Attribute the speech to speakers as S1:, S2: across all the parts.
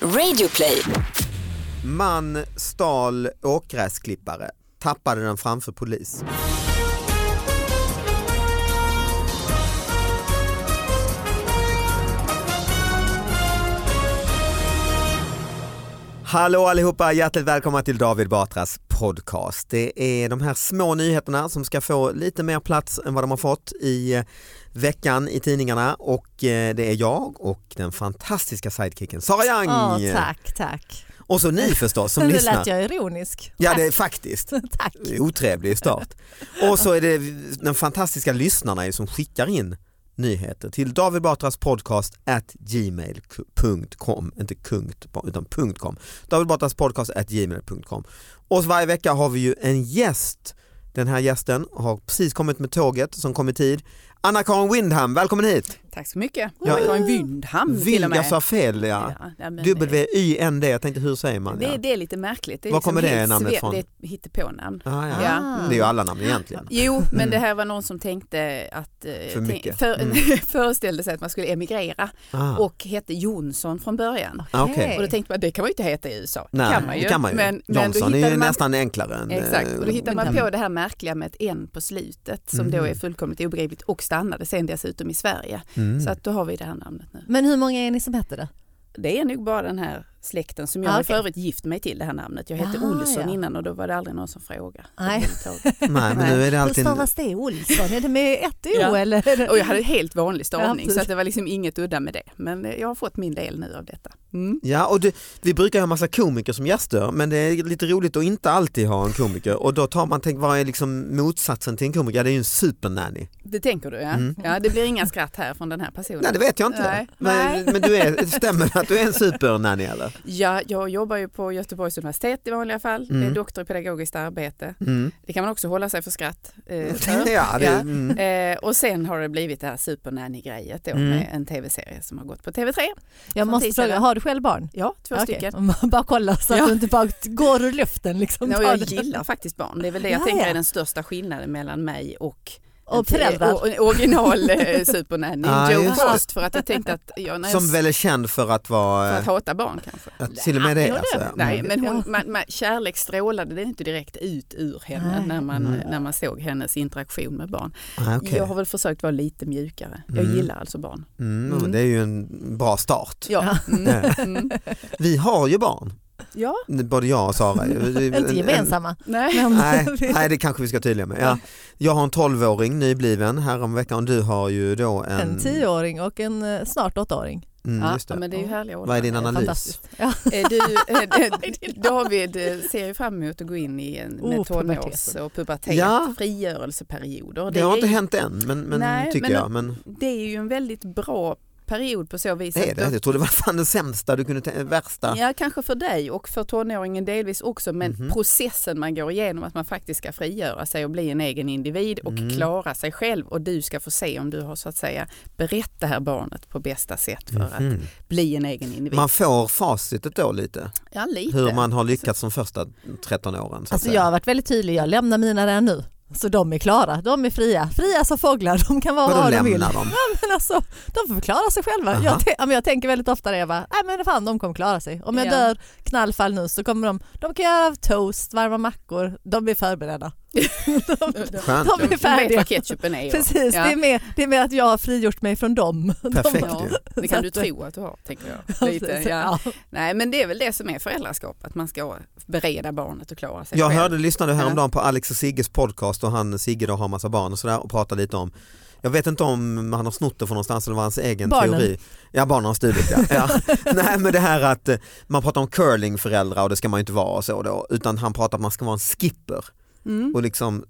S1: Radioplay.
S2: Man stal åkgräsklippare, tappade den framför polis. Hallå allihopa, hjärtligt välkomna till David Batras podcast. Det är de här små nyheterna som ska få lite mer plats än vad de har fått i eh, veckan i tidningarna och eh, det är jag och den fantastiska sidekicken Sara Young.
S3: Ja, tack, tack.
S2: Och så ni förstås eh, som
S3: nu
S2: lyssnar.
S3: lät jag ironisk.
S2: Ja
S3: tack.
S2: det är faktiskt.
S3: tack.
S2: Otrevlig start. Och så är det den fantastiska lyssnarna ju som skickar in nyheter till David Batras podcast at gmail.com, inte kungt, utan punkt .com. David Batras podcast at gmail.com. Och så varje vecka har vi ju en gäst. Den här gästen har precis kommit med tåget som kom i tid. Anna-Karin Windham, välkommen hit!
S4: Tack så mycket.
S2: Ja.
S4: Ja. Det var en Wyndhamn till och
S2: Vind,
S4: med.
S2: jag sa fel ja.
S4: Ja, ja, men-
S2: W-Y-N-D, jag tänkte hur säger man?
S4: det,
S2: Ja.
S4: det är lite märkligt. Det är
S2: Var kommer det
S4: helt
S2: namnet
S4: sve-
S2: ifrån?
S4: Det är ett hittepånamn.
S2: Ah, ja.
S4: Ja.
S2: Det är ju alla namn egentligen.
S4: Jo, men det här var någon som tänkte att eh,
S2: För mycket. Mm.
S4: för, föreställde sig att man skulle emigrera
S2: Ah.
S4: och hette Jonsson från början.
S2: Ah, okej.
S4: Och då tänkte man det kan man ju inte heta i USA.
S2: Nej,
S4: kan man ju.
S2: Det kan man ju.
S4: Men, men då
S2: Johnson är ju
S4: hittade man,
S2: nästan enklare. Än, eh,
S4: Exakt, och då hittar man
S3: Mm.
S4: på det här märkliga med ett N på slutet som
S2: Mm.
S4: då är fullkomligt obegripligt och stannade sen dessutom i Sverige.
S2: Mm.
S4: Så att då har vi det här namnet nu.
S3: Men hur många är ni som heter det?
S4: Det är nog bara den här släkten som jag
S3: Ah,
S4: har
S3: okej.
S4: för övrigt gift mig till det här namnet. Jag hette
S3: Ah,
S4: Olsson
S3: ja.
S4: innan och då var det aldrig någon som frågade.
S3: Nej.
S4: överhuvudtaget.
S2: Nej, men nu är det
S3: Hur
S2: alltid...
S3: stavas det Olsson? Är det med ett O
S4: Ja.
S3: eller?
S4: Och jag hade helt vanlig
S3: Ja,
S4: stavning
S3: precis.
S4: så att det var liksom inget udda med det. Men eh, jag har fått min del nu av detta. Mm.
S2: Ja, och det, vi brukar ha massa komiker som gäster, men det är lite roligt att inte alltid ha en komiker. Och då tar man, tänk vad är liksom motsatsen till en komiker? Ja, det är ju en supernanny.
S4: Det tänker du ja. ja. Det blir inga skratt här från den här personen.
S2: Mm. Nej, det vet jag inte.
S4: Nej.
S2: Men,
S4: Nej.
S2: men du är, stämmer det att du är en supernanny eller?
S4: Ja, jag jobbar ju på Göteborgs universitet i vanliga fall.
S2: Mm.
S4: är Doktor i pedagogiskt arbete.
S2: Mm.
S4: Det kan man också hålla sig för skratt. eh,
S2: Ja,
S4: för.
S2: det,
S4: Ja.
S2: Mm.
S4: Eh, och sen har det blivit det här supernanny-grejet då
S2: Mm.
S4: med en tv-serie som har gått på TV3.
S3: jag måste
S4: Som tisdag.
S3: fråga, har du själv barn?
S4: Ja, två
S3: Okej,
S4: stycken.
S3: Bara kolla så att
S4: Ja.
S3: du inte bara går ur luften. Liksom.
S4: Nej, och
S3: Ta
S4: jag
S3: det.
S4: gillar faktiskt barn. Det är väl det
S3: Ja,
S4: jag tänker
S3: ja.
S4: är den största skillnaden mellan mig och
S3: Och föräldrar.
S4: och- och- original eh, supernanny
S2: Ah,
S4: Joe
S2: just det.
S4: Frost för att jag tänkte att jag, när jag,
S2: Som
S4: för
S2: väl är känd för att vara, eh,
S4: att hata barn kanske.
S2: att till och med det
S4: Ja,
S2: alltså.
S4: det-
S2: Mm.
S4: Nej, men hon, man, man, kärlek strålade det inte direkt ut ur henne
S3: Nej.
S4: när man,
S2: Mm.
S4: när man såg hennes interaktion med barn.
S2: Ah, okej.
S4: Jag har väl försökt vara lite mjukare. Jag
S2: Mm.
S4: gillar alltså barn.
S2: Mm,
S4: Mm.
S2: det är ju en bra start.
S4: Ja, mm. Mm.
S2: Vi har ju barn,
S4: ja.
S2: både jag och Sara.
S3: Inte gemensamma.
S4: nej.
S3: Men...
S2: Nej, nej, det kanske vi ska vara tydliga med. Ja, jag har en 12-åring nybliven häromveckan och du har ju då en...
S3: En tioåring och en eh, snart åttaåring.
S2: Mm,
S4: Ja,
S2: just det.
S4: men det är ju härliga
S2: Vad är din
S4: åldrar.
S2: analys?
S3: Fantastiskt. Ja.
S4: Eh, Du, eh, eh, David eh, ser ju fram emot att gå in i en med
S3: Oh,
S4: tonårs
S3: puberteten.
S4: och pubertet,
S2: Ja.
S4: frigörelseperioder.
S2: Det har
S4: är,
S2: inte hänt än, men, men
S4: Nej,
S2: tycker
S4: men-
S2: jag. Men
S4: det är ju en väldigt bra period på så vis.
S2: det är
S4: att
S2: det. Jag tror det var fan den sämsta du kunde tänka värsta.
S4: Ja, kanske för dig och för tonåringen delvis också, men
S2: Mhm.
S4: processen man går igenom att man faktiskt ska frigöra sig och bli en egen individ och
S2: Mm.
S4: klara sig själv och du ska få se om du har så att säga berett det här barnet på bästa sätt för att
S2: Mhm.
S4: bli en egen individ.
S2: Man får facitet då lite,
S4: ja, lite.
S2: hur man har lyckats de första 13 åren. Så att
S3: Alltså jag
S2: säga.
S3: har varit väldigt tydlig, jag lämnar mina där nu. Så de är klara, de är fria. Fria som fåglar, de kan vara
S2: Vadå
S3: vad de vill.
S2: lämnar dem?
S3: Men alltså, de får förklara sig själva.
S2: Aha.
S3: Jag, tän- ja, men jag tänker väldigt ofta det, jag bara, nej men fan de kommer klara sig. Om jag
S4: Ja.
S3: dör knallfall nu så kommer de, de kan göra toast, varma mackor, de är förberedda.
S2: Skönt
S3: De
S2: ju.
S3: är
S4: Du vet
S3: färdiga.
S4: vad ketchupen är. va?
S3: Precis,
S4: Ja.
S3: det, är mer, det är mer att jag har frigjort mig från dem.
S2: Perfekt
S4: Ja,
S2: ju.
S4: det kan du tro att du har, tänker jag.
S3: De,
S4: Lite, ja.
S3: Alltså, ja.
S4: Nej, men det är väl det som är föräldraskap, att man ska bereda barnet och klara sig
S2: Jag
S4: själv.
S2: hörde, lyssnade häromdagen på Alex och Sigges podcast och han Sigge då har massa barn och sådär och pratade lite om jag vet inte om han har snott det från någonstans eller vad hans egen
S3: Barnen.
S2: teori. Ja, barnen har stulit ja. ja. Nej men det här att eh, man pratar om curlingföräldrar och det ska man ju inte vara och så då. Utan han pratar att man ska vara en skipper.
S4: Mm.
S2: Och liksom,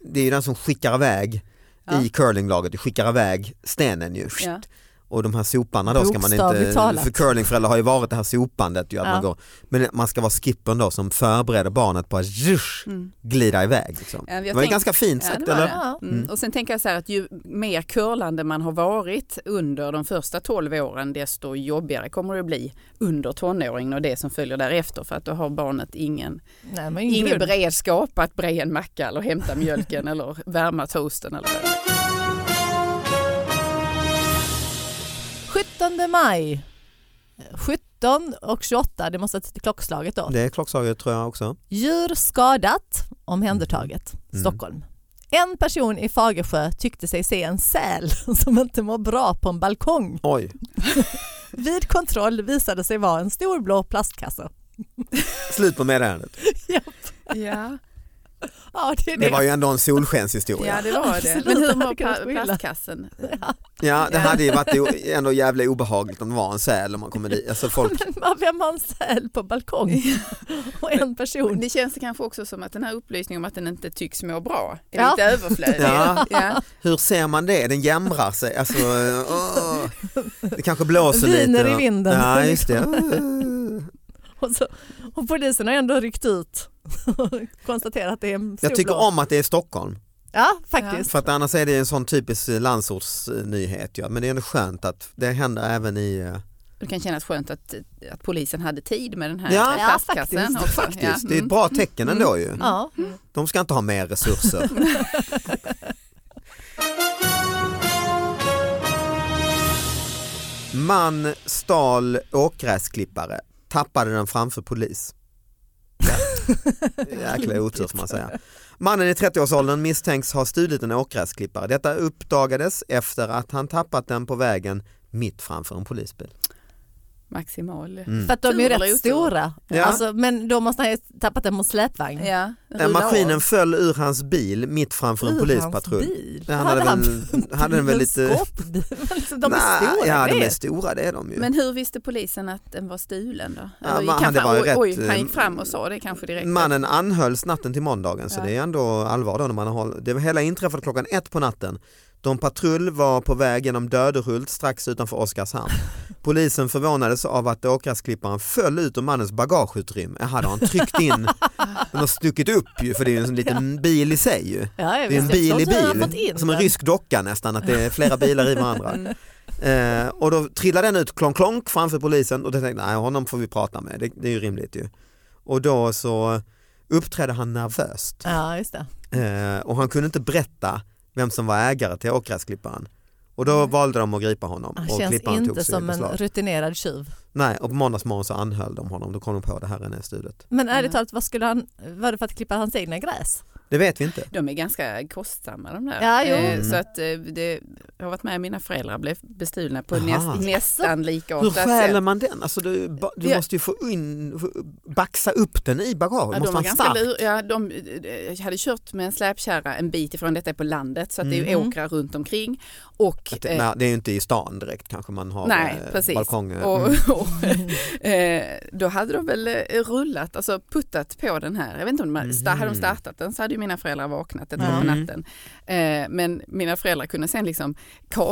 S2: det är ju den som skickar iväg
S4: Ja.
S2: i curlinglaget, du skickar iväg stenen ju.
S4: Ja.
S2: Och de här soparna då ska man inte,
S3: Bokstavligt talat.
S2: för curlingföräldrar har ju varit det här sopandet ju, att
S3: Ja.
S2: man går, men man ska vara skippern då som förbereder barnet på att zhush,
S4: Mm.
S2: glida iväg. Liksom.
S4: Ja, jag
S2: det var ju
S4: tänk-
S2: ganska fint
S4: Ja,
S2: sagt
S4: det var
S2: eller?
S4: det.
S3: Ja.
S4: Mm. Och sen tänker jag så här att ju mer curlande man har varit under de första 12 åren desto jobbigare kommer det att bli under tonåringen och det som följer därefter för att då har barnet ingen,
S3: Nej, men
S4: ingen
S3: grund.
S4: beredskap att bre en macka eller hämta mjölken eller värma toasten. Eller vad det är.
S3: 17 maj. 17 och 28, det måste ha till klockslaget då.
S2: Det är klockslaget tror jag också.
S3: Djur skadat, omhändertaget,
S2: Mm.
S3: Stockholm. En person i Fagersjö tyckte sig se en säl som inte mår bra på en balkong.
S2: Oj,
S3: Vid kontroll visade sig vara en stor blå plastkasse.
S2: slut på meddelandet.
S4: Ja,
S3: Ja, det är det.
S2: Det var ju ändå en solskenshistoria.
S4: ja det var det.
S3: Absolut,
S4: Men hur
S3: det
S4: mår
S3: hade kunnat gå
S4: pla-
S3: illa.
S4: plastkassen?
S2: Ja, det hade ju varit o- ändå jävla obehagligt om det var en säl om man kommer dit. Alltså folk,
S3: Men Vem har en säl på balkong? Och en person.
S4: Det känns kanske också som att den här upplysningen om att den inte tycks må bra är
S3: Ja.
S4: lite överflödig.
S2: Ja.
S4: Ja.
S2: hur ser man det? Den jämrar sig. Alltså, åh. det kanske blåser lite.
S3: Viner i vinden.
S2: Ja, just det.
S3: Och, så, och polisen har ändå ryckt ut och konstaterat att det är en stor
S2: Jag tycker
S3: blå-
S2: om att det är Stockholm.
S3: Ja, faktiskt.
S2: För att annars är det en sån typisk eh, landsortsnyhet. Ja. Men det är ändå skönt att det händer även i... eh,
S4: Det kan kännas skönt att, att polisen hade tid med den här
S2: Ja.
S3: Ja,
S4: plastkassen.
S3: faktiskt.
S4: också.
S2: Faktiskt,
S4: Ja. Mm.
S2: det är ett bra tecken ändå ju.
S3: Ja.
S2: De ska inte ha mer resurser. Man stal åkgräsklippare, tappade den framför polis. Ja. Jäkla otur får man säga. Mannen i 30-årsåldern misstänks ha stulit en åkgräsklippare. Detta uppdagades efter att han tappat den på vägen mitt framför en polisbil.
S4: Maximal.
S2: Mm.
S3: För att de är ju
S4: Tur eller otur?
S3: rätt stora.
S2: Ja.
S3: Alltså, men då måste han ju tappat den mot släpvagn.
S4: Ja, rulla
S2: Eh, Maskinen
S4: av.
S2: föll ur hans bil mitt framför en
S3: Ur
S2: polispatrull.
S3: hans bil.
S2: Han hade,
S3: han
S2: väl, hade den väl
S3: en
S2: lite...
S3: skåpbil? Alltså, de är
S2: Nej,
S3: stora.
S2: Ja,
S3: det
S2: de är
S3: är.
S2: stora det är de ju.
S4: Men hur visste polisen att den var stulen då?
S2: Ja,
S4: Eller
S2: men
S4: gick han,
S2: han- det
S4: fram,
S2: var ju
S4: oj, oj,
S2: rätt,
S4: han gick
S2: eh,
S4: fram och sa det kanske direkt.
S2: Mannen anhölls natten till måndagen så
S4: Ja.
S2: det är ändå allvar då när man har, det hela inträffade klockan ett på natten. De patrull var på väg genom Döderhult strax utanför Oskarshamn. Polisen förvånades av att åkgräsklipparen föll ut ur mannens bagageutrymme. Jaha, hade han tryckt in, den har stuckit upp ju för det är ju en sån liten bil i sig ju.
S3: Ja, jag
S2: Det är en
S3: vet. Jag
S2: bil i
S3: tror inte jag har fått
S2: bil,
S3: in
S2: som en
S3: den.
S2: rysk docka nästan, att det är flera bilar i varandra.
S4: Mm.
S2: Eh, och då trillade den ut klonk klonk framför polisen och då tänkte jag, nej honom får vi prata med, det, det är ju rimligt ju. Och då så uppträdde han nervöst
S3: Ja, just det.
S2: eh, och han kunde inte berätta vem som var ägare till åkgräsklipparen. Och då
S4: Mm.
S2: valde de att gripa honom
S3: Han
S2: och
S3: känns
S2: klipparen
S3: inte
S2: togs i
S3: som en
S2: beslag.
S3: rutinerad tjuv.
S2: Nej, och på måndagsmorgon så anhöll de honom, då kom de på det här är stulet.
S3: Men ärligt
S4: Mm.
S3: talat, vad skulle han, var det för att klippa hans egna gräs?
S2: Det vet vi inte.
S4: De är ganska kostsamma de där.
S3: Ja, jo.
S4: Eh,
S2: Mm.
S4: Så att eh, det jag har varit med mina föräldrar blev bestulna på
S2: Aha.
S4: näst, nästan
S2: Hur
S4: likartat
S2: stjäler man den? Alltså du, ba- du
S4: Ja.
S2: måste ju få in, få- baxa upp den i bagaget, måste
S4: Ja, de var
S2: vara
S4: ganska
S2: stark.
S4: lur, ja, de eh, hade kört med en släpkärra en bit ifrån, detta är på landet så att det är
S3: Mm.
S4: åkrar runt omkring. Och,
S2: Att,
S4: eh,
S2: nej, det är ju inte i stan direkt kanske man har
S4: Nej,
S2: eh,
S4: precis.
S2: balkonger.
S4: och,
S2: Mm.
S4: och, eh, då hade de väl eh, rullat, alltså puttat på den här. Jag vet inte om de hade, sta- hade de
S2: Mhm.
S4: startat den så hade ju mina föräldrar vaknat ett
S3: Ja.
S4: tag på
S2: Mm.
S4: natten. Eh, men mina föräldrar kunde sen liksom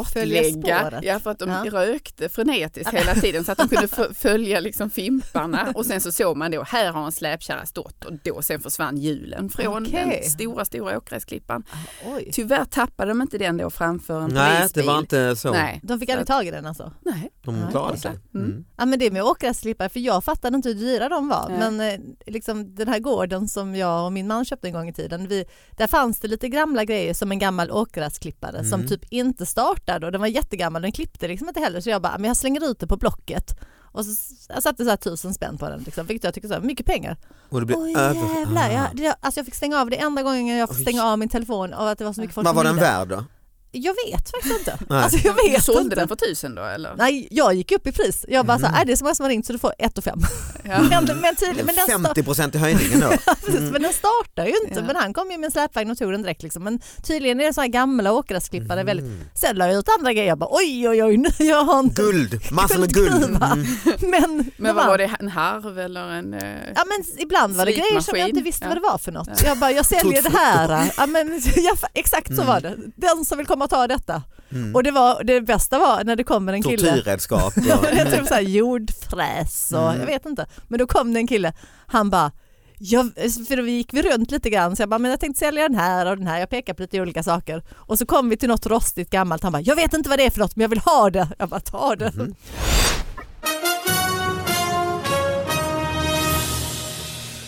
S3: Följa
S4: kartlägga,
S3: spåret.
S4: ja, för att de
S3: Ja.
S4: rökte frenetiskt hela tiden så att de kunde f- följa liksom fimparna och sen så såg man då, här har en släpkärra stått och då sen försvann hjulen från
S3: Okej.
S4: den stora, stora åkgräsklippan.
S2: Ah,
S3: Oj.
S4: Tyvärr tappade de inte den då framför en
S2: Nej, det
S4: polisbil.
S2: var inte så.
S4: Nej.
S3: De fick aldrig tag i den alltså?
S4: Nej.
S2: De
S3: Nej.
S2: klarade sig.
S4: Mm.
S2: Mm.
S3: Ja men det med åkgräsklippare, för jag fattade inte hur dyra de var.
S4: Nej.
S3: Men eh, liksom, den här gården som jag och min man köpte en gång i tiden, vi, där fanns det lite gamla grejer som en gammal åkgräsklippare som
S2: Mm.
S3: typ inte startade och den var jättegammal, den klippte liksom inte heller. Så jag bara, men jag slänger ut det på Blocket. Och så s- jag satte så här tusen spänn på den, liksom, vilket jag tyckte så här, mycket pengar.
S2: Och det blev
S3: Oj
S2: över...
S3: jävlar,
S2: Ah.
S3: jag, det, alltså jag fick stänga av det enda gången jag fick
S2: Oj.
S3: stänga av min telefon av att det var så mycket folk
S2: Vad
S3: som
S2: var den
S3: ringde.
S2: värd då?
S3: Jag vet faktiskt inte.
S2: Nej.
S3: Alltså jag
S4: Du
S3: vet
S4: sålde
S3: inte.
S4: den för tusen då eller?
S3: Nej, jag gick upp i pris. Jag bara så
S2: Mm.
S3: här, "Äh, det är så många som har ringt så du får ett och fem.
S4: Ja.
S3: Men, men tydligen, men den, sta-
S2: 50 procent i höjningen då.
S3: precis, men den startar ju inte.
S4: Ja.
S3: Men han kom ju med en släpvagn och tog den direkt. Liksom. Men tydligen är det så här gamla åkgräsklippare. Väldigt...
S2: Mm.
S3: Sen la jag ut andra grejer. Jag bara oj oj oj, nu jag har en...
S2: Guld, massor med guld.
S3: Guldgruva.
S2: Mm.
S3: Men,
S4: Men vad var det, en harv eller en... eh,
S3: Ja, men ibland var det
S4: Slipmaskin.
S3: grejer som jag inte visste
S4: Ja.
S3: vad det var för något.
S4: Ja.
S3: Jag bara, jag säljer det här. Ja, men, ja, fa- exakt så
S2: Mm.
S3: var det. Den som vill komma och ta detta.
S2: Mm.
S3: Och det, var, det bästa var när det kommer en kille.
S2: Tortyrredskap. och-
S3: Ja, men det är typ så här jordfräs och
S2: Mm.
S3: jag vet inte. Men då kom det en kille, han bara, jag, för då gick vi runt lite grann så jag bara, men jag tänkte sälja den här och den här, jag pekade på lite olika saker. Och så kom vi till något rostigt gammalt, han bara, jag vet inte vad det är för något men jag vill ha det. Jag bara, ta det.
S2: Mhm.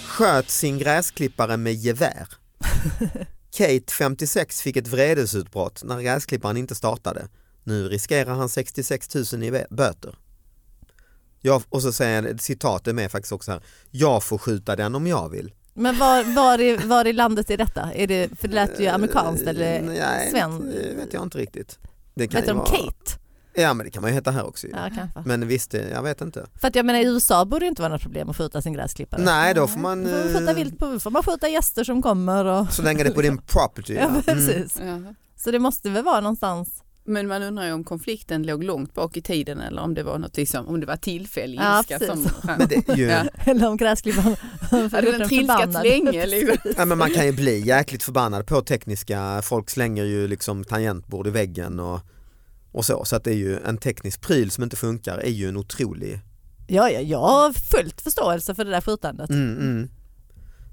S2: Sköt sin gräsklippare med gevär. Kate, 56, fick ett vredesutbrott när gräsklipparen inte startade. Nu riskerar han 66 000 i bö- böter. Jag, och så säger jag, citatet med faktiskt också här, jag får skjuta den om jag vill.
S3: Men var, var, i, var i landet är detta? Är det, för det lät ju amerikanskt eller
S2: Eh, Nej,
S3: sven-
S2: Det vet jag inte riktigt. Det kan
S3: vet
S2: ju
S3: de
S2: vara- Mm.
S3: Kate?
S2: Ja men det kan man ju heta här också ju.
S3: Ja, kanske.
S2: Men visst, det- jag vet inte.
S3: För att jag menar i USA borde det inte vara något problem att skjuta sin gräsklippare.
S2: Nej då får man,
S3: Då får man skjuta
S2: eh,
S3: vilt på, får man skjuta gäster som kommer och
S2: så länge det är på din property.
S3: ja,
S2: Mm.
S3: precis.
S4: Ja.
S3: Så det måste väl vara någonstans.
S4: Men man undrar ju om konflikten låg långt bak i tiden eller om det var något liksom, om det var tillfällig
S3: Ja,
S4: ilska.
S3: precis.
S4: som,
S2: Men det är ju,
S4: Ja.
S3: Eller om gräsklipparen
S4: hade den trilskat länge? Liksom.
S2: ja, men man kan ju bli jäkligt förbannad på tekniska, folk slänger ju liksom tangentbord i väggen och, och så. Så att det är ju en teknisk pryl som inte funkar är ju en otrolig,
S3: Ja, ja, jag har fullt förståelse för det där skjutandet.
S2: mm, mm.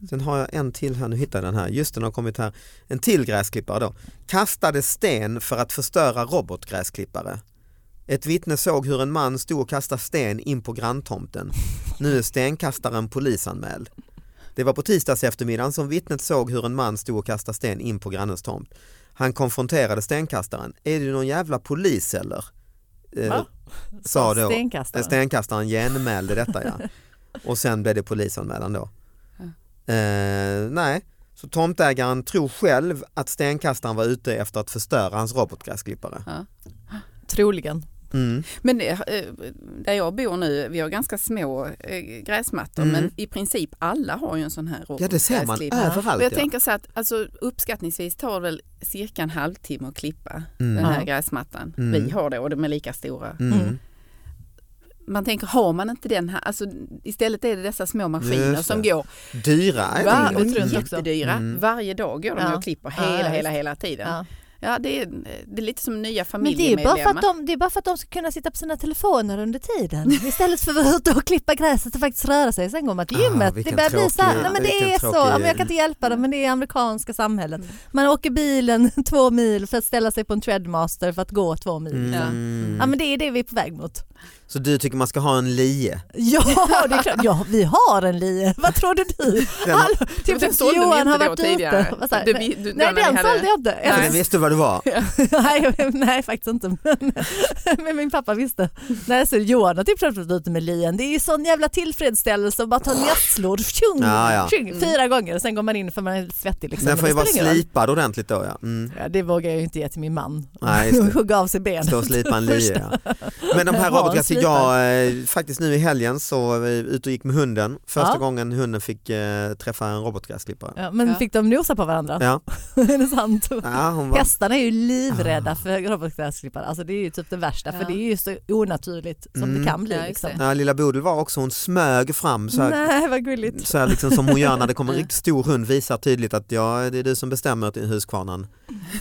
S2: Sen har jag en till här, nu hittar jag den här, just den har kommit här. En till gräsklippare då. Kastade sten för att förstöra robotgräsklippare. Ett vittne såg hur en man stod och kastade sten in på granntomten. Nu är stenkastaren polisanmäld. Det var på tisdags eftermiddagen som vittnet såg hur en man stod och kastade sten in på grannens tomt. Han konfronterade stenkastaren. Är du någon jävla polis eller? Eh,
S3: Va?
S2: sa då
S3: Stenkastaren.
S2: stenkastaren genmälde detta ja. Och sen blev det polisanmälan då. Eh, nej, så tomtägaren tror själv att stenkastaren var ute efter att förstöra hans robotgräsklippare.
S3: Troligen.
S2: Mm.
S4: Men eh, eh, där jag bor nu, vi har ganska små eh, gräsmattor
S2: Mm.
S4: men i princip alla har ju en sån här
S2: Ja det ser man
S4: robotgräsklippare.
S2: överallt.
S4: Och jag
S2: ja.
S4: tänker så att alltså, uppskattningsvis tar det väl cirka en halvtimme att klippa
S2: Mm.
S4: den här
S3: Ja.
S4: gräsmattan.
S2: Mm.
S4: Vi har det och de är lika stora.
S2: Mm.
S3: Mm.
S4: Man tänker, har man inte den här, alltså, istället är det dessa små maskiner
S2: Just
S4: som
S2: det.
S4: går
S2: Dyra är
S4: var,
S2: de
S3: och
S2: ju.
S3: tror jag
S2: Mm.
S3: också.
S4: jättedyra.
S2: Mm.
S4: Varje dag går de
S3: Ja.
S4: och klipper
S3: Ja,
S4: hela,
S3: just.
S4: hela, hela tiden. Ja.
S3: Ja.
S4: det, är, det är lite som nya
S3: Men det är, ju
S4: familjemedlemmar.
S3: bara för att de, det är bara för att de ska kunna sitta på sina telefoner under tiden istället för att vara ute och klippa gräset och faktiskt röra sig. Sen går man till
S2: Ah,
S3: gymmet. det
S2: vilken
S3: börjar bli så här,
S2: tråkig-
S3: nej men det
S2: vilken
S3: är så,
S2: tråkig-
S3: ja, men jag kan inte hjälpa dem men det är amerikanska samhället. Man åker bilen två mil för att ställa sig på en treadmaster för att gå två mil.
S2: Mm.
S3: Ja men det är det vi är på väg mot.
S2: Så du tycker man ska ha en lie?
S3: Ja, det är klart. ja vi har en lie, vad trodde du?
S2: Den,
S3: Hallå,
S4: Men
S3: typ
S4: den
S3: att
S4: sålde vi
S3: Johan
S4: inte
S3: har
S4: då
S3: varit ute.
S4: tidigare.
S3: Vad sa jag?
S4: Du-
S3: Nej,
S4: vi- du-
S3: Nej
S4: när vi
S3: den
S4: hade-
S3: sålde jag inte.
S2: så
S3: Eller-
S2: den visste vad det var?
S3: nej, nej faktiskt inte. Men, men min pappa visste. Nej, så Johan har typ plötsligt varit ute med lien. Det är ju sån jävla tillfredsställelse att bara ta nässlor tjung,
S2: Ja, ja.
S4: Mm.
S3: tjung, fyra gånger och sen går man in för man är svettig. Liksom.
S2: Den
S3: Men
S2: får ju
S3: det
S2: vara
S3: spelar ingen roll.
S2: slipad ordentligt då ja. Mm.
S3: Ja, det vågar jag ju inte ge till min man.
S2: Nej, just det.
S3: Hon hugga av sig benet.
S2: Stå och slipa en lie. Ja. Men de här
S3: Ja,
S2: robotgräsklippar,
S3: slipa.
S2: jag eh, faktiskt nu i helgen så eh, ut och gick med hunden. Första
S3: Ja.
S2: gången hunden fick eh, träffa en robotgräsklippare.
S3: Ja, men
S4: Ja.
S3: fick de nosa på varandra?
S2: Ja.
S3: är det sant?
S2: Ja, hon var,
S3: Hästarna är ju
S2: Ah.
S3: livrädda för robotgräsklippare. Alltså, det är ju typ det värsta för
S4: Ja.
S3: det är ju så onaturligt som
S2: Mm.
S3: det kan bli.
S4: Ja, just
S3: liksom.
S4: det.
S2: ja, lilla Bodil var också, hon smög fram så här,
S3: Nej vad gulligt.
S2: så här liksom som hon gör när det kommer en riktigt stor hund visar tydligt att ja, det är du som bestämmer till huskvarnan.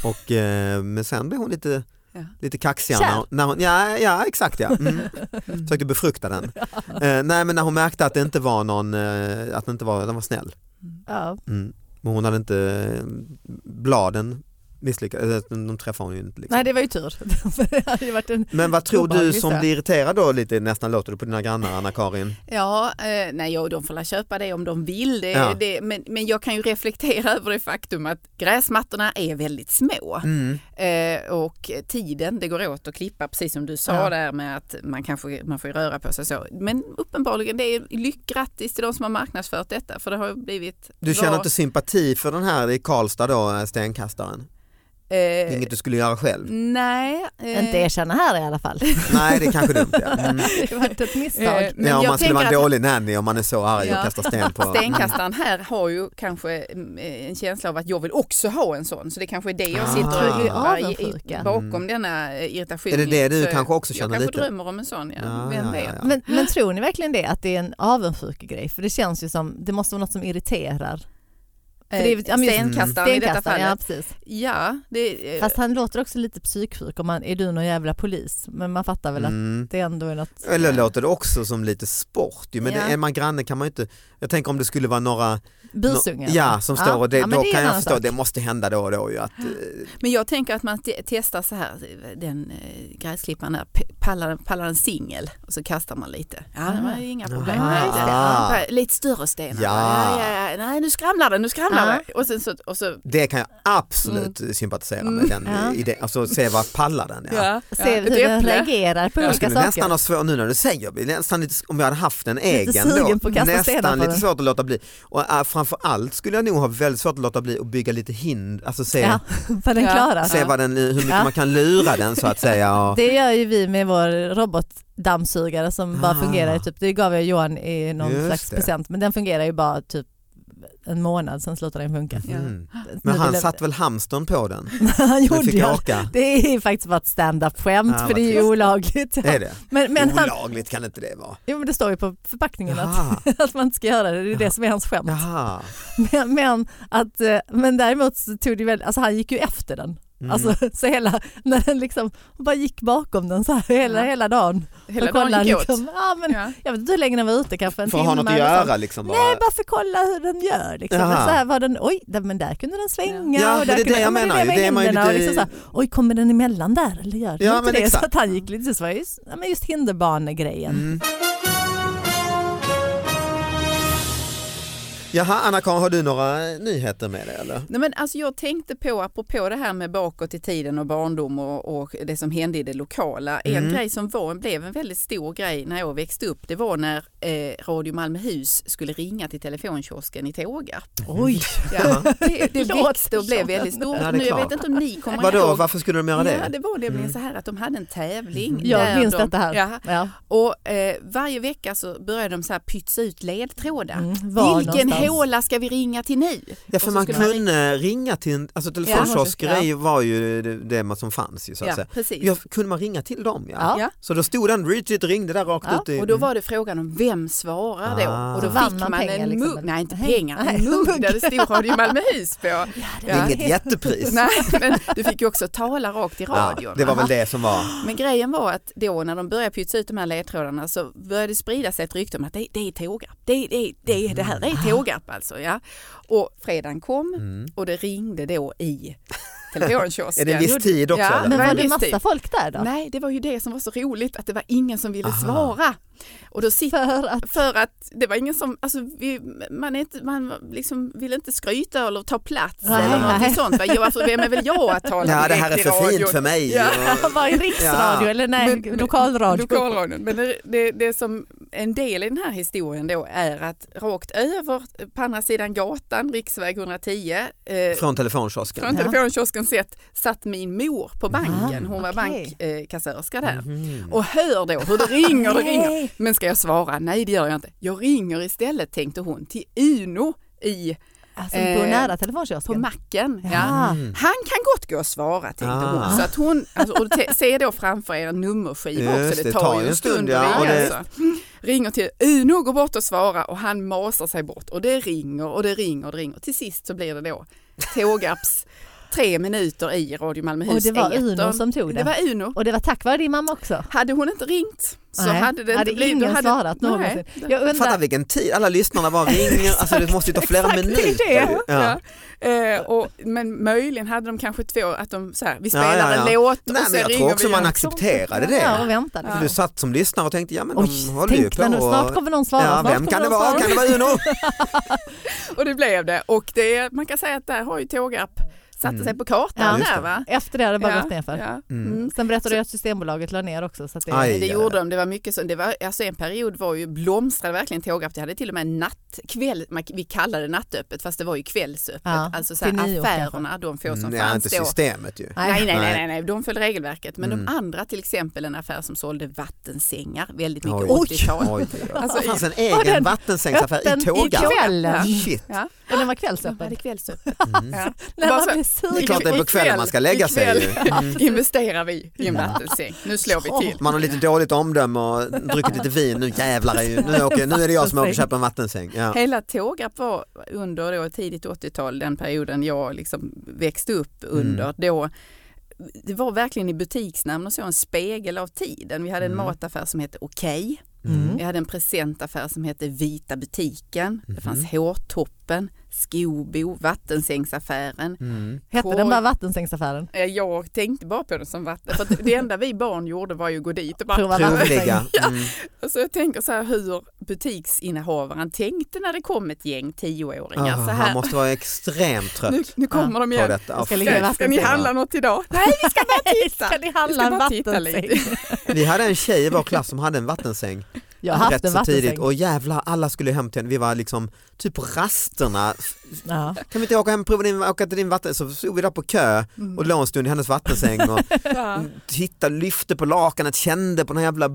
S2: Och, eh, men sen blev hon lite,
S4: Ja.
S2: lite kaxigare.
S3: Kär.
S2: När hon, när hon, ja, ja exakt ja. Mm. Försökte befrukta den. Eh, nej men när hon märkte att det inte var någon, eh, att den inte var, den var snäll.
S3: Ja.
S2: Mm. Men hon hade inte eh, bladen misslyckades, de träffade hon ju inte. Liksom.
S3: Nej det var ju tur. det hade ju varit en
S2: Men vad tror du
S3: obehagligt,
S2: som
S3: ja.
S2: blir irriterad då lite nästan låter du på dina grannar Anna-Karin?
S4: Ja, eh, nej, ja, de får la köpa det om de vill. Det,
S2: Ja.
S4: det, men, men jag kan ju reflektera över det faktum att gräsmattorna är väldigt små.
S2: Mm.
S4: Eh, och tiden det går åt att klippa, precis som du sa
S3: Ja.
S4: där med att man kanske man får ju röra på sig så. Men uppenbarligen, det är lyck, grattis till de som har marknadsfört detta för det har ju blivit...
S2: Du känner
S4: bra.
S2: inte sympati för den här i Karlstad då, stenkastaren?
S4: Eh,
S2: Inget Mm. du skulle göra själv?
S4: Nej. eh,
S3: Inte erkänna här i alla fall.
S2: Nej det är kanske dumt ja. Mm.
S3: Det var ett
S4: eh,
S3: misstag.
S4: men
S2: ja om
S4: jag
S2: man skulle vara en
S4: tänker att
S2: dålig nanny om man är så arg och
S4: Ja.
S2: kastar sten på.
S4: Stenkastaren här har ju kanske mm, eh, en känsla av att jag vill också ha en sån. Så det kanske är det jag
S2: Ah.
S4: sitter och
S2: Du är
S4: grubblar i, i,
S3: avundsjuka.
S4: bakom
S2: Mm.
S4: denna eh, irritationen.
S2: Är det det du
S4: Så
S2: kanske också
S4: Jag
S2: känner
S4: kanske
S2: lite?
S4: drömmer om en sån, ja.
S2: Ja,
S4: Vem
S2: ja,
S4: vet?
S2: ja,
S3: Men, men tror ni verkligen det att det är en avundsjuk grej? För det känns ju som, det måste vara något som irriterar. För det är-
S4: Eh,
S3: ja, men just-
S4: Stenkastaren i detta
S3: Stenkastaren, ja
S4: fallet.
S3: precis.
S4: Ja, det, eh,
S3: Fast han låter också lite psyksjuk om man, är du någon jävla polis? Men man fattar väl att
S2: Mm.
S3: det ändå är något.
S2: Eller låter det också som lite sport ju. men
S4: Ja.
S2: det, är man granne kan man ju inte, jag tänker om det skulle vara några
S3: Busungar?
S2: ja, som står och det,
S3: ja, men
S2: då
S3: det är
S2: kan
S3: en
S2: jag
S3: annan
S2: förstå,
S3: sak.
S2: det måste hända då och då ju att eh,
S4: Men jag tänker att man te- testar så här, den eh, gräsklipparen där, p- pallar, pallar en singel och så kastar man lite. Ja, det var ju inga problem.
S2: Ah.
S4: Lite, lite större stenar.
S2: Ja.
S4: Ja, ja, ja. Nej, nu skramlar den, nu skramlar jävlar. Och, sen så, och så
S2: Det kan jag absolut sympatisera med den
S3: Mm. Ja.
S2: idén, alltså se vad pallar den. Ja.
S4: Ja,
S3: Se
S4: ja, ett
S3: hur den
S4: äpple.
S3: reagerar på
S4: Jag
S2: Jag
S3: olika
S2: skulle
S3: saker.
S2: nästan ha svårt, nu när du säger, jag blir nästan lite, om jag hade haft en egen
S3: sugen på
S2: då,
S3: att kasta stenar
S2: nästan
S3: på
S2: lite
S3: den.
S2: svårt att låta bli. Och äh, framför allt skulle jag nog ha väldigt svårt att låta bli att bygga lite hinder, alltså se,
S3: Ja, för den
S4: Ja.
S3: klarar.
S2: se vad den, hur mycket
S3: Ja.
S2: man kan lura den så att säga. Och,
S3: Det gör ju vi med vår robotdammsugare som bara
S2: Ah.
S3: fungerar i typ, det gav jag Johan i någon
S2: Just
S3: slags
S2: det.
S3: present, men den fungerar ju bara typ en månad, sen slutar den funka.
S4: Ja.
S2: mm.
S3: Nu
S2: Men han
S3: vill-
S2: satt väl hamstern på den?
S3: han
S2: Den
S3: gjorde
S2: fick
S3: ju.
S2: åka.
S3: Det är faktiskt bara ett stand-up-skämt
S2: Ah,
S3: för det är ju
S2: vad
S3: olagligt.
S2: Är det?
S3: Men, men, han,
S2: Olagligt kan inte det vara.
S3: jo, men det står ju på förpackningen att,
S2: Jaha.
S3: att man inte ska göra det, det är det
S2: Ja.
S3: som är hans skämt.
S2: Jaha.
S3: Men, men, att, eh, men däremot så tog det väl, alltså han gick ju efter den.
S2: Mm.
S3: Alltså, så hela, när den liksom bara gick bakom den så här hela,
S4: Ja.
S3: hela dagen.
S4: hela
S3: Och kollade
S4: dagen gick åt.
S3: liksom, ja, men,
S4: Ja.
S3: Jag vet inte hur länge den var ute, kanske en
S2: för att
S3: timme.
S2: ha något att
S3: eller sånt.
S2: göra liksom. Bara.
S3: Nej, bara för att kolla hur den gör. Liksom.
S2: Jaha.
S3: Så här var den, oj, där, men där kunde den svänga.
S2: Ja,
S3: och
S2: men det
S3: där
S2: är
S3: kunde,
S2: det jag
S3: ja, men
S2: menar ju.
S3: med
S2: Det är man ju
S3: händerna och
S2: lite-
S3: liksom så här, oj, kommer den emellan där eller gör den
S2: Ja,
S3: inte
S2: men
S3: det? Så
S2: exakt.
S3: att han gick lite, så var det ju, ja, men just hinderbanegrejen.
S2: Mm. Jaha, Anna-Karin, har du några nyheter med dig eller?
S4: Nej, men alltså jag tänkte på, apropå det här med bakåt i tiden och barndom och, och det som hände i det lokala. En
S2: Mm.
S4: grej som var, blev en väldigt stor grej när jag växte upp, det var när eh, Radio Malmöhus skulle ringa till telefonkiosken i Tågarp.
S3: Oj,
S4: Ja, det det
S3: Låter
S4: växte och blev
S3: som
S4: väldigt stort.
S2: Ja, det är
S4: nu, jag
S2: klart.
S4: vet inte om ni kommer
S2: Vadå,
S4: ihåg.
S2: varför skulle de göra
S4: Ja,
S2: det?
S4: det var nämligen så här att de hade en tävling.
S2: Mm.
S3: jag
S4: där
S3: minns
S4: de,
S3: detta här.
S4: Ja,
S3: Ja.
S4: och eh, varje vecka så började de så här pytsa ut ledtrådar.
S3: Mm, var
S4: Vilken
S3: någonstans?
S4: håla ska vi ringa till nu?
S2: Ja,
S4: Och så
S2: för man
S4: skulle man
S2: kunde ringa till en, alltså telefonkiosker är ju- var ju det- det man som fanns ju så att
S4: Ja,
S2: säga.
S4: precis.
S2: Ja, kunde man ringa till dem ja.
S3: Ja.
S4: Ja.
S2: Så då stod den, Richard ringde där rakt
S3: Ja,
S2: ut i...
S4: Och då var det frågan om vem svarar då?
S2: Ah.
S4: Och då
S2: Så
S3: vann
S4: fick
S3: man
S4: man,
S3: pengar
S4: en
S3: liksom,
S4: mugg,
S3: eller?
S4: nej inte
S3: Nej.
S4: pengar,
S3: Nej,
S4: en mugg
S3: mugg.
S4: där det stod Radio Malmöhus på.
S2: det är
S4: Ja.
S2: inget jättepris.
S4: Nej, men du fick ju också tala rakt i
S2: Ja,
S4: radion.
S2: det var väl det som var...
S4: Men grejen var att då när de började pytsa ut de här ledtrådarna så började det sprida sig ett rykte om att det, det är Tågarp, det, det, det, det här det är Tågarp alltså. Ja. Och fredagen kom
S2: Mm.
S4: och det ringde då i
S2: Är
S4: telefonkiosken.
S2: det en viss tid också
S4: Ja,
S2: eller?
S3: Men
S4: Nej,
S3: var det
S4: visst,
S3: massa
S4: typ.
S3: folk där då?
S4: Nej, det var ju det som var så roligt att det var ingen som ville
S2: Aha.
S4: svara. Och då sitter
S3: För att,
S4: för att det var ingen som, alltså vi, man, är inte, man liksom vill inte skryta eller ta plats
S3: Nej,
S4: eller
S3: nej.
S4: någonting sånt. Va? Jo, alltså, vem är väl jag att tala
S2: Ja, det
S4: direkt
S2: här är
S4: i
S2: för
S4: radion?
S2: fint för mig.
S4: Ja.
S2: Och-
S3: var i riksradio
S2: Ja.
S3: eller nej,
S4: Men- men-
S3: lokalradio.
S4: Lokalradion. Men det, det, det som en del i den här historien då är att rakt över eh, på andra sidan gatan, riksväg 110, eh,
S2: Från telefonkiosken.
S4: från
S3: Ja. Ah,
S4: telefonkiosken sett, satt min mor på banken. Hon var
S3: okej.
S4: bankkassörska där.
S2: Mhm.
S4: Och hör då hur det ringer, det ringer.
S3: Nej.
S4: Men ska jag svara? Nej, det gör jag inte. Jag ringer istället, tänkte hon, till Uno i,
S3: Alltså, gå
S4: Eh,
S3: nära
S4: på
S3: telefonkiosken.
S4: macken. Ja.
S3: Ja.
S2: Mm.
S4: Han kan gott gå och svara, tänkte
S2: Ah.
S4: hon. Så att hon alltså, och te- se då framför er en nummerskiva
S2: Just
S4: också,
S2: det,
S4: det tar ju en stund att
S2: ja, och
S4: ringa.
S2: det-
S4: Alltså. Ringer till Uno, går bort och svarar och han masar sig bort och det ringer och det ringer och det ringer. Till sist så blir det då Tågarps tre minuter i Radio
S3: Och
S4: Malmöhus
S3: det var
S4: etern.
S3: Uno som tog
S4: Det
S3: det.
S4: var Uno.
S3: Och det var tack vare din mamma också.
S4: Hade hon inte ringt så
S3: Nej,
S4: hade det inte blivit... då
S3: ingen
S4: hade,
S3: svarat någonsin.
S4: Nej.
S3: Jag
S2: Fatta
S3: undrar,
S2: vilken tid, alla lyssnarna bara ringer, alltså det måste ju ta flera
S3: exakt, det är
S2: minuter.
S3: det.
S2: Ja.
S4: Ja. Eh, och, men möjligen hade de kanske två, att de så här, vi
S2: Ja,
S4: spelar
S2: ja, ja.
S4: en låt
S2: Nej
S4: och sen
S2: men jag
S4: ringer
S2: tror också
S4: vi.
S2: man
S4: igen.
S2: accepterade det.
S3: ja, och väntade.
S2: För Du satt som lyssnare och tänkte, ja men
S3: Oj,
S2: de håller ju
S3: tänk
S2: på.
S3: när nu, snart
S2: och-
S3: kommer någon svara.
S2: Ja,
S3: snart
S2: vem
S3: kommer
S2: kan det
S3: någon
S2: vara?
S3: svara.
S2: Kan det vara Uno?
S4: Och det blev det. Och det, man kan säga att där har ju Tågarp satte
S2: Mm.
S4: sig på
S3: Ja,
S4: kartan
S2: just
S4: där
S2: det.
S4: va?
S3: Efter det hade det bara gått nerför.
S4: Ja.
S2: Mm.
S4: Mm.
S3: Sen berättade jag att Systembolaget la ner också. Så att det,
S2: Aj.
S4: Det gjorde de, det var mycket så, det var, alltså en period var ju blomstrade verkligen Tågarp, det hade till och med natt, kväll, man, vi kallade det nattöppet fast det var ju kvällsöppet,
S3: Ja,
S4: alltså så här,
S3: till nio
S4: affärerna, de få som
S2: Nej,
S4: fanns
S2: inte
S4: då.
S2: systemet ju.
S4: Nej, nej,
S2: Nej.
S4: nej, nej, nej, de följde regelverket. Men
S2: Mm.
S4: de andra, till exempel en affär som sålde vattensängar, väldigt mycket
S2: Oj.
S4: 80-tal.
S2: Oj, det gör-
S4: Alltså,
S2: det fanns en
S3: var den
S2: egen vattensängsaffär
S3: öppen
S2: i
S3: i
S2: Tågarp.
S3: kvällen?
S2: Shit.
S4: Ja,
S3: Och den var
S4: de hade
S3: kvällsöppen.
S4: kvällsöppet.
S2: Mm.
S4: Ja.
S3: När
S4: Bara
S3: man
S4: så-
S3: blir
S2: Det är
S3: sugen.
S2: klart det är på kvällen man ska lägga sig. ju.
S4: Ikväll. Investerar vi i en vattensäng. Nu slår vi till.
S2: Man har lite dåligt omdöme och druckit lite vin. Nu jävlar, är ju- nu, åker, nu är det jag som åker och köper en vattensäng. Ja.
S4: Hela Tågarp var under då, tidigt 80-tal, den perioden jag liksom växte upp under,
S2: Mm.
S4: då det var verkligen i butiksnamn och så en spegel av tiden. Vi hade en
S2: Mm.
S4: mataffär som hette Okej.
S2: Mm.
S3: Mm.
S4: Vi hade en presentaffär som hette Vita butiken. Det
S2: Mhm.
S4: fanns Hårtoppen, Skobo, Vattensängsaffären.
S2: Mm.
S3: Hette den bara Vattensängsaffären?
S4: Eh, Jag tänkte bara på den som vatten, för att det enda vi barn gjorde var ju att gå dit och bara
S3: Prova
S2: Provligga. Mm.
S4: Alltså jag tänker så här hur butiksinnehavaren tänkte när det kom ett gäng tioåringar.
S2: Ah,
S4: så
S2: han
S4: här,
S2: måste vara extremt trött
S4: nu, nu kommer de
S2: på
S4: igen.
S2: detta. Ah,
S3: ska ligga i
S4: Ska,
S2: fy.
S4: ska ni handla något idag? Nej, vi ska bara titta.
S3: Ska ni
S4: Vi
S3: handla
S4: ska
S3: en
S4: bara titta lite.
S3: vattensäng?
S2: Vi hade en tjej i vår klass som hade en vattensäng.
S3: Jag har haft
S2: Alltså, rätt
S3: en
S2: så
S3: vattensäng.
S2: tidigt och jävlar alla skulle hem till henne. Vi var liksom typ på rasterna.
S3: Ja.
S2: Kan vi inte åka hem och prova din, åka till din vatten? Så stod vi där på kö och Mm. låg en stund i hennes vattensäng och
S4: Ja.
S2: tittade, lyfte på lakanet, kände på den här jävla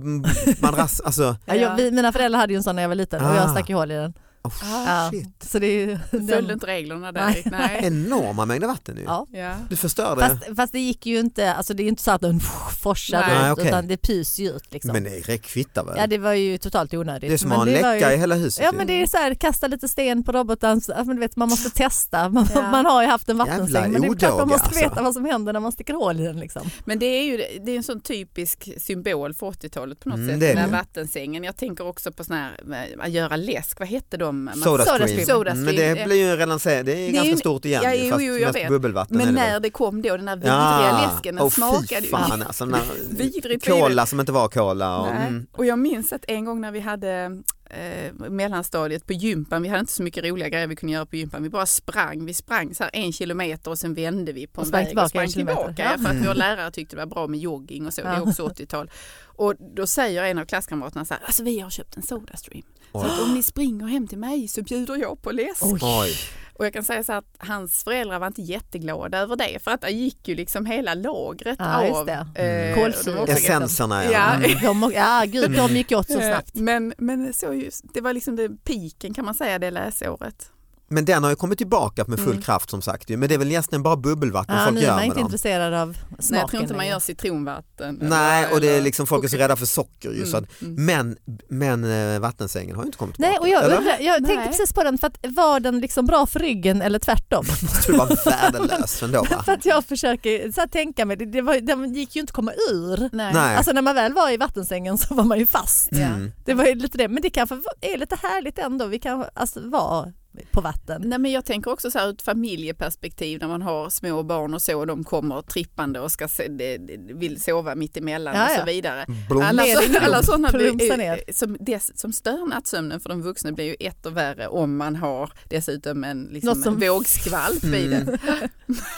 S2: madrass. Alltså,
S3: Ja, jag, vi, mina föräldrar hade ju en sån när jag var liten och jag
S2: Ah.
S3: stack ju hål i den.
S2: oh,
S3: Ja,
S2: shit.
S3: så det är ju den-
S4: Följde inte reglerna där.
S3: Nej.
S4: Nej. Nej.
S2: Enorma mängder vatten nu.
S3: Ja.
S4: Ja.
S2: Du förstörde.
S3: Fast, fast det gick ju inte, alltså det är ju inte så att den forsar
S4: Nej,
S3: ut
S2: okej.
S3: utan det pyser ju ut liksom.
S2: men det kvittar väl?
S3: ja det var ju totalt onödigt.
S2: det är som
S3: Men
S2: att ha en
S3: det var
S2: läcka
S3: ju-
S2: i hela huset.
S3: Ja
S2: ju.
S3: men det är så här, kasta lite sten på roboten, så- ja, men du vet, man måste testa. Man,
S4: Ja.
S3: man har ju haft en
S2: Jävla
S3: vattensäng men det är klart man
S2: odåga,
S3: måste
S2: alltså.
S3: veta vad som händer när man sticker hål i den. Liksom.
S4: Men det är ju det är en sån typisk symbol för 80-talet på något
S2: Mm,
S4: sätt.
S2: det är
S4: Den här
S2: det.
S4: vattensängen. Jag tänker också på sån här, eh, att göra läsk, vad hette de? Eh, Man-
S2: Soda
S3: Soda
S2: stream.
S4: Soda
S2: Mm, Men
S4: stream.
S2: det blir ju en relansering, det är,
S4: ju
S2: ganska
S4: en-
S2: stort igen
S4: Ja,
S2: ju,
S4: jo,
S2: fast
S4: jo, jag
S2: mest
S4: vet.
S2: bubbelvatten är
S4: Men
S2: det väl.
S4: när det kom då, den här vidriga läsken, den
S2: åh,
S4: smakade
S2: fy
S4: ju
S2: fan alltså. Den där
S4: vidrigt. vidrigt.
S2: cola som inte var cola. Och,
S4: Nej.
S2: mm.
S4: Och jag minns att en gång när vi hade eh, mellanstadiet på gympan, vi hade inte så mycket roliga grejer vi kunde göra på gympan, vi bara sprang, vi sprang så här en kilometer och sen vände vi på
S3: Och
S4: en
S3: sprang
S4: väg
S3: tillbaka
S4: och sprang
S3: en kilometer.
S4: tillbaka,
S3: Ja.
S4: ja, för att vår lärare tyckte det var bra med jogging och så, det
S3: Ja.
S4: är också 80-tal. Och då säger en av klasskamraterna så här, alltså vi har köpt en Sodastream, så
S2: Oj.
S4: att om ni springer hem till mig så bjuder jag på läsk.
S2: Oj.
S4: Och jag kan säga så här att hans föräldrar var inte jätteglada över det, för att det gick ju liksom hela lagret
S3: Ja, just
S4: av
S3: det. Mm.
S4: eh,
S3: Kolsyra.
S4: de var också ganska
S2: Essenserna ja.
S4: Ja.
S2: Mm.
S3: De, ja gud, de gick ju åt så
S4: Eh,
S3: snabbt.
S4: Men, men så just, det var liksom det piken kan man säga det läsåret.
S2: Men den har ju kommit tillbaka med full
S4: Mm.
S2: kraft som sagt. ju. Men det är väl egentligen bara bubbelvatten
S3: Ja,
S2: folk
S3: nu är
S2: gör
S3: man
S2: med
S3: inte
S2: dem.
S3: intresserad av smaken.
S4: Nej, jag tror inte man
S3: längre.
S4: gör citronvatten.
S2: Nej,
S4: eller-
S2: och det är
S4: eller-
S2: liksom folk är så rädda för socker ju. Så att,
S4: Mm.
S2: men, men eh, vattensängen har ju inte kommit tillbaka.
S3: Nej, och jag,
S2: Eller?
S3: undrar, jag tänkte
S4: Nej.
S3: precis på den, för att var den liksom bra för ryggen eller tvärtom?
S2: måste det vara värdelös ändå va?
S3: för att jag försöker så här, tänka mig, det, det var, den gick ju inte att komma ur.
S4: Nej.
S2: Nej.
S3: Alltså när man väl var i vattensängen så var man ju fast.
S2: Mm.
S3: Det var ju lite det, men det kanske var- är lite härligt ändå, vi kan alltså, vara på vatten.
S4: Nej, men jag tänker också så här ur ett familjeperspektiv när man har små barn och så och de kommer trippande och ska se, de, de, vill sova mitt emellan
S3: Ja,
S4: och
S3: ja.
S4: så vidare.
S2: Blom.
S4: Alla,
S3: Ner i
S4: så,
S3: plump.
S4: alla sådana
S3: Plumsa
S4: blir,
S3: ner.
S4: eh, som, dess, som stör nattsömnen för de vuxna blir ju ett och värre om man har dessutom en, liksom
S3: Något som-
S4: en vågskvalp i
S2: Mm.
S4: den.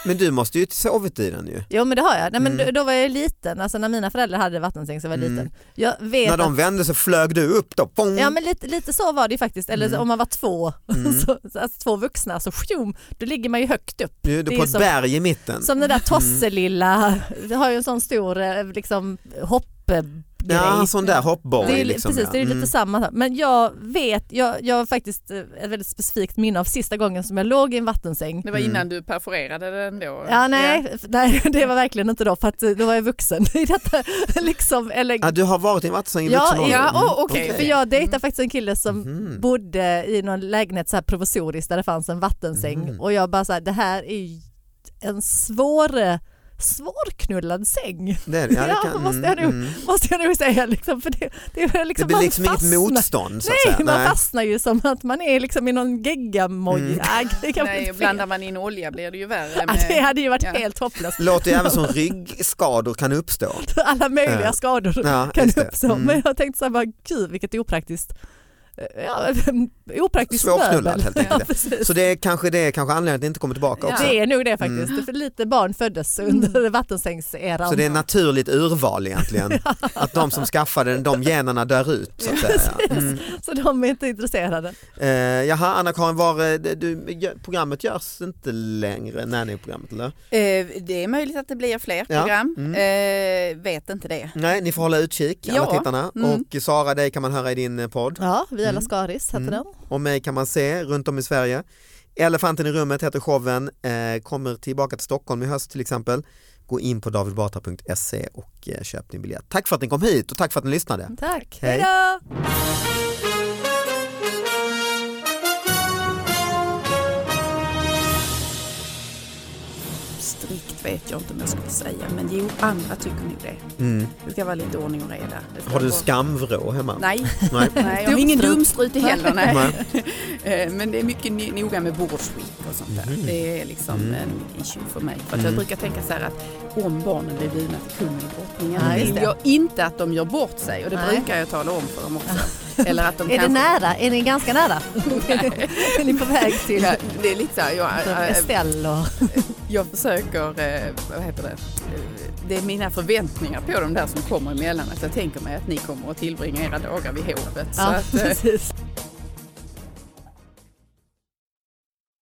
S2: Men du måste ju sovit i den ju.
S3: Jo men det har jag, Nej, men
S2: Mm.
S3: då, då var jag liten, alltså när mina föräldrar hade vattensäng så var jag
S2: Mm.
S3: liten. Jag vet
S2: När de
S3: att,
S2: vände så flög du upp då. Pong.
S3: ja men lite, lite så var det ju faktiskt, eller
S2: Mm.
S3: om man var två,
S2: Mm.
S3: så, så- alltså, två vuxna, så fjum, då ligger man ju högt upp.
S2: Du är
S3: det
S2: du
S3: är
S2: på ett
S3: som-
S2: berg i mitten.
S3: Som den där tosselilla, det har ju en sån stor eh, liksom, hoppgrej.
S2: Ja, sån där hoppborg.
S3: det är,
S2: liksom,
S3: precis,
S2: ja.
S3: det är lite
S2: Mm.
S3: samma. Men jag vet, jag, jag har faktiskt eh, ett väldigt specifikt minne av sista gången som jag låg i en vattensäng.
S4: Det var
S2: Mm.
S4: innan du perforerade den då.
S3: Ja, nej, f- nej, det var verkligen inte då för att eh, då var jag vuxen i detta. Liksom, eller,
S2: Ja, du har varit i en vattensäng i
S3: Ja,
S2: vuxen ålder?
S4: ja,
S2: Mm,
S4: åh, okej.
S3: för jag dejtade
S4: Mm.
S3: faktiskt en kille som
S2: Mhm.
S3: bodde i någon lägenhet så här provisoriskt där det fanns en vattensäng
S2: Mm.
S3: och jag bara så här, det här är ju en svår eh, svårknullad säng
S2: Det, är det. ja, det
S3: Ja,
S2: kan, mm,
S3: måste jag nog- måste jag nog säga. Liksom, för det, det, är
S2: Det
S3: liksom,
S2: blir
S3: man
S2: liksom inget
S3: fastnar.
S2: motstånd så att
S3: Nej,
S2: säga.
S3: man fastnar ju som att man är liksom i någon geggamoja.
S2: Mm.
S3: Nej, det kan
S4: Nej,
S3: bli
S4: och
S3: fel.
S4: blandar man in olja blir det ju värre.
S3: Ja,
S4: med-
S3: det hade ju varit
S4: Ja.
S3: helt hopplöst.
S2: Låter ju även som ryggskador kan uppstå.
S3: Alla möjliga
S2: Ja.
S3: skador
S2: Ja,
S3: kan
S2: just det.
S3: uppstå.
S2: Mm.
S3: Men jag tänkte så här, bara, gud vilket opraktiskt. Ja, opraktiskt
S2: Svårknullad
S3: möbel.
S2: helt
S3: Ja,
S2: enkelt.
S3: precis.
S2: Så det är kanske, det är kanske anledningen att det inte kommer tillbaka
S4: Ja.
S2: också.
S3: Det är Mm. nog det faktiskt. För lite barn föddes under vattensängseran.
S2: Så det är naturligt urval egentligen. Att de som skaffade den, de generna dör ut. Så att säga. Mm.
S3: Så de är inte intresserade.
S2: Eh, jaha, Anna-Karin, var, eh, du, gö- programmet görs inte längre, när ni är programmet eller?
S4: Eh, Det är möjligt att det blir fler
S2: Ja, Mm.
S4: program. Eh, vet inte det.
S2: Nej, ni får hålla utkik alla
S4: Ja,
S2: tittarna.
S4: mm.
S2: Och Sara, dig kan man höra i din eh, podd.
S3: Ja, Via
S2: Mm.
S3: Lascaris heter
S2: Mm.
S3: den.
S2: Och mig kan man se runt om i Sverige. Elefanten i rummet heter showen, eh, kommer tillbaka till Stockholm i höst till exempel. Gå in på davidbatra.se och eh, köp din biljett. Tack för att ni kom hit och tack för att ni lyssnade.
S3: Tack.
S2: Hej.
S3: Hej då!
S4: Strikt vet jag inte om jag skulle säga, men jo, andra tycker nog det.
S2: Mm.
S4: Det ska vara lite ordning och reda. Det ska
S2: Har du
S4: vara-
S2: skamvrå hemma?
S4: Nej,
S2: Nej.
S4: nej, jag har ingen dumstrut i heller. Nej.
S2: Nej.
S4: Eh, Men det är mycket ny- noga med bordsskick och sånt där. Det är liksom
S2: Mm.
S4: en issue för mig. För att
S2: Mm.
S4: jag brukar tänka så här att om barnen blir bjudna till kungen och drottningen
S3: Ja, just
S4: vill
S3: det.
S4: jag inte att de gör bort sig och det
S3: Nej.
S4: brukar jag tala om för dem också. Eller att de
S3: Är det
S4: kanske...
S3: nära? Är ni ganska nära? är ni på väg till
S4: Ja, det är lite så här, jag, jag,
S3: Estelle och...
S4: jag försöker, eh, vad heter det, Eh, det är mina förväntningar på de där som kommer emellan. Att jag tänker mig att ni kommer att tillbringa era dagar vid hovet. Så
S3: Ja,
S4: att, eh,
S3: precis.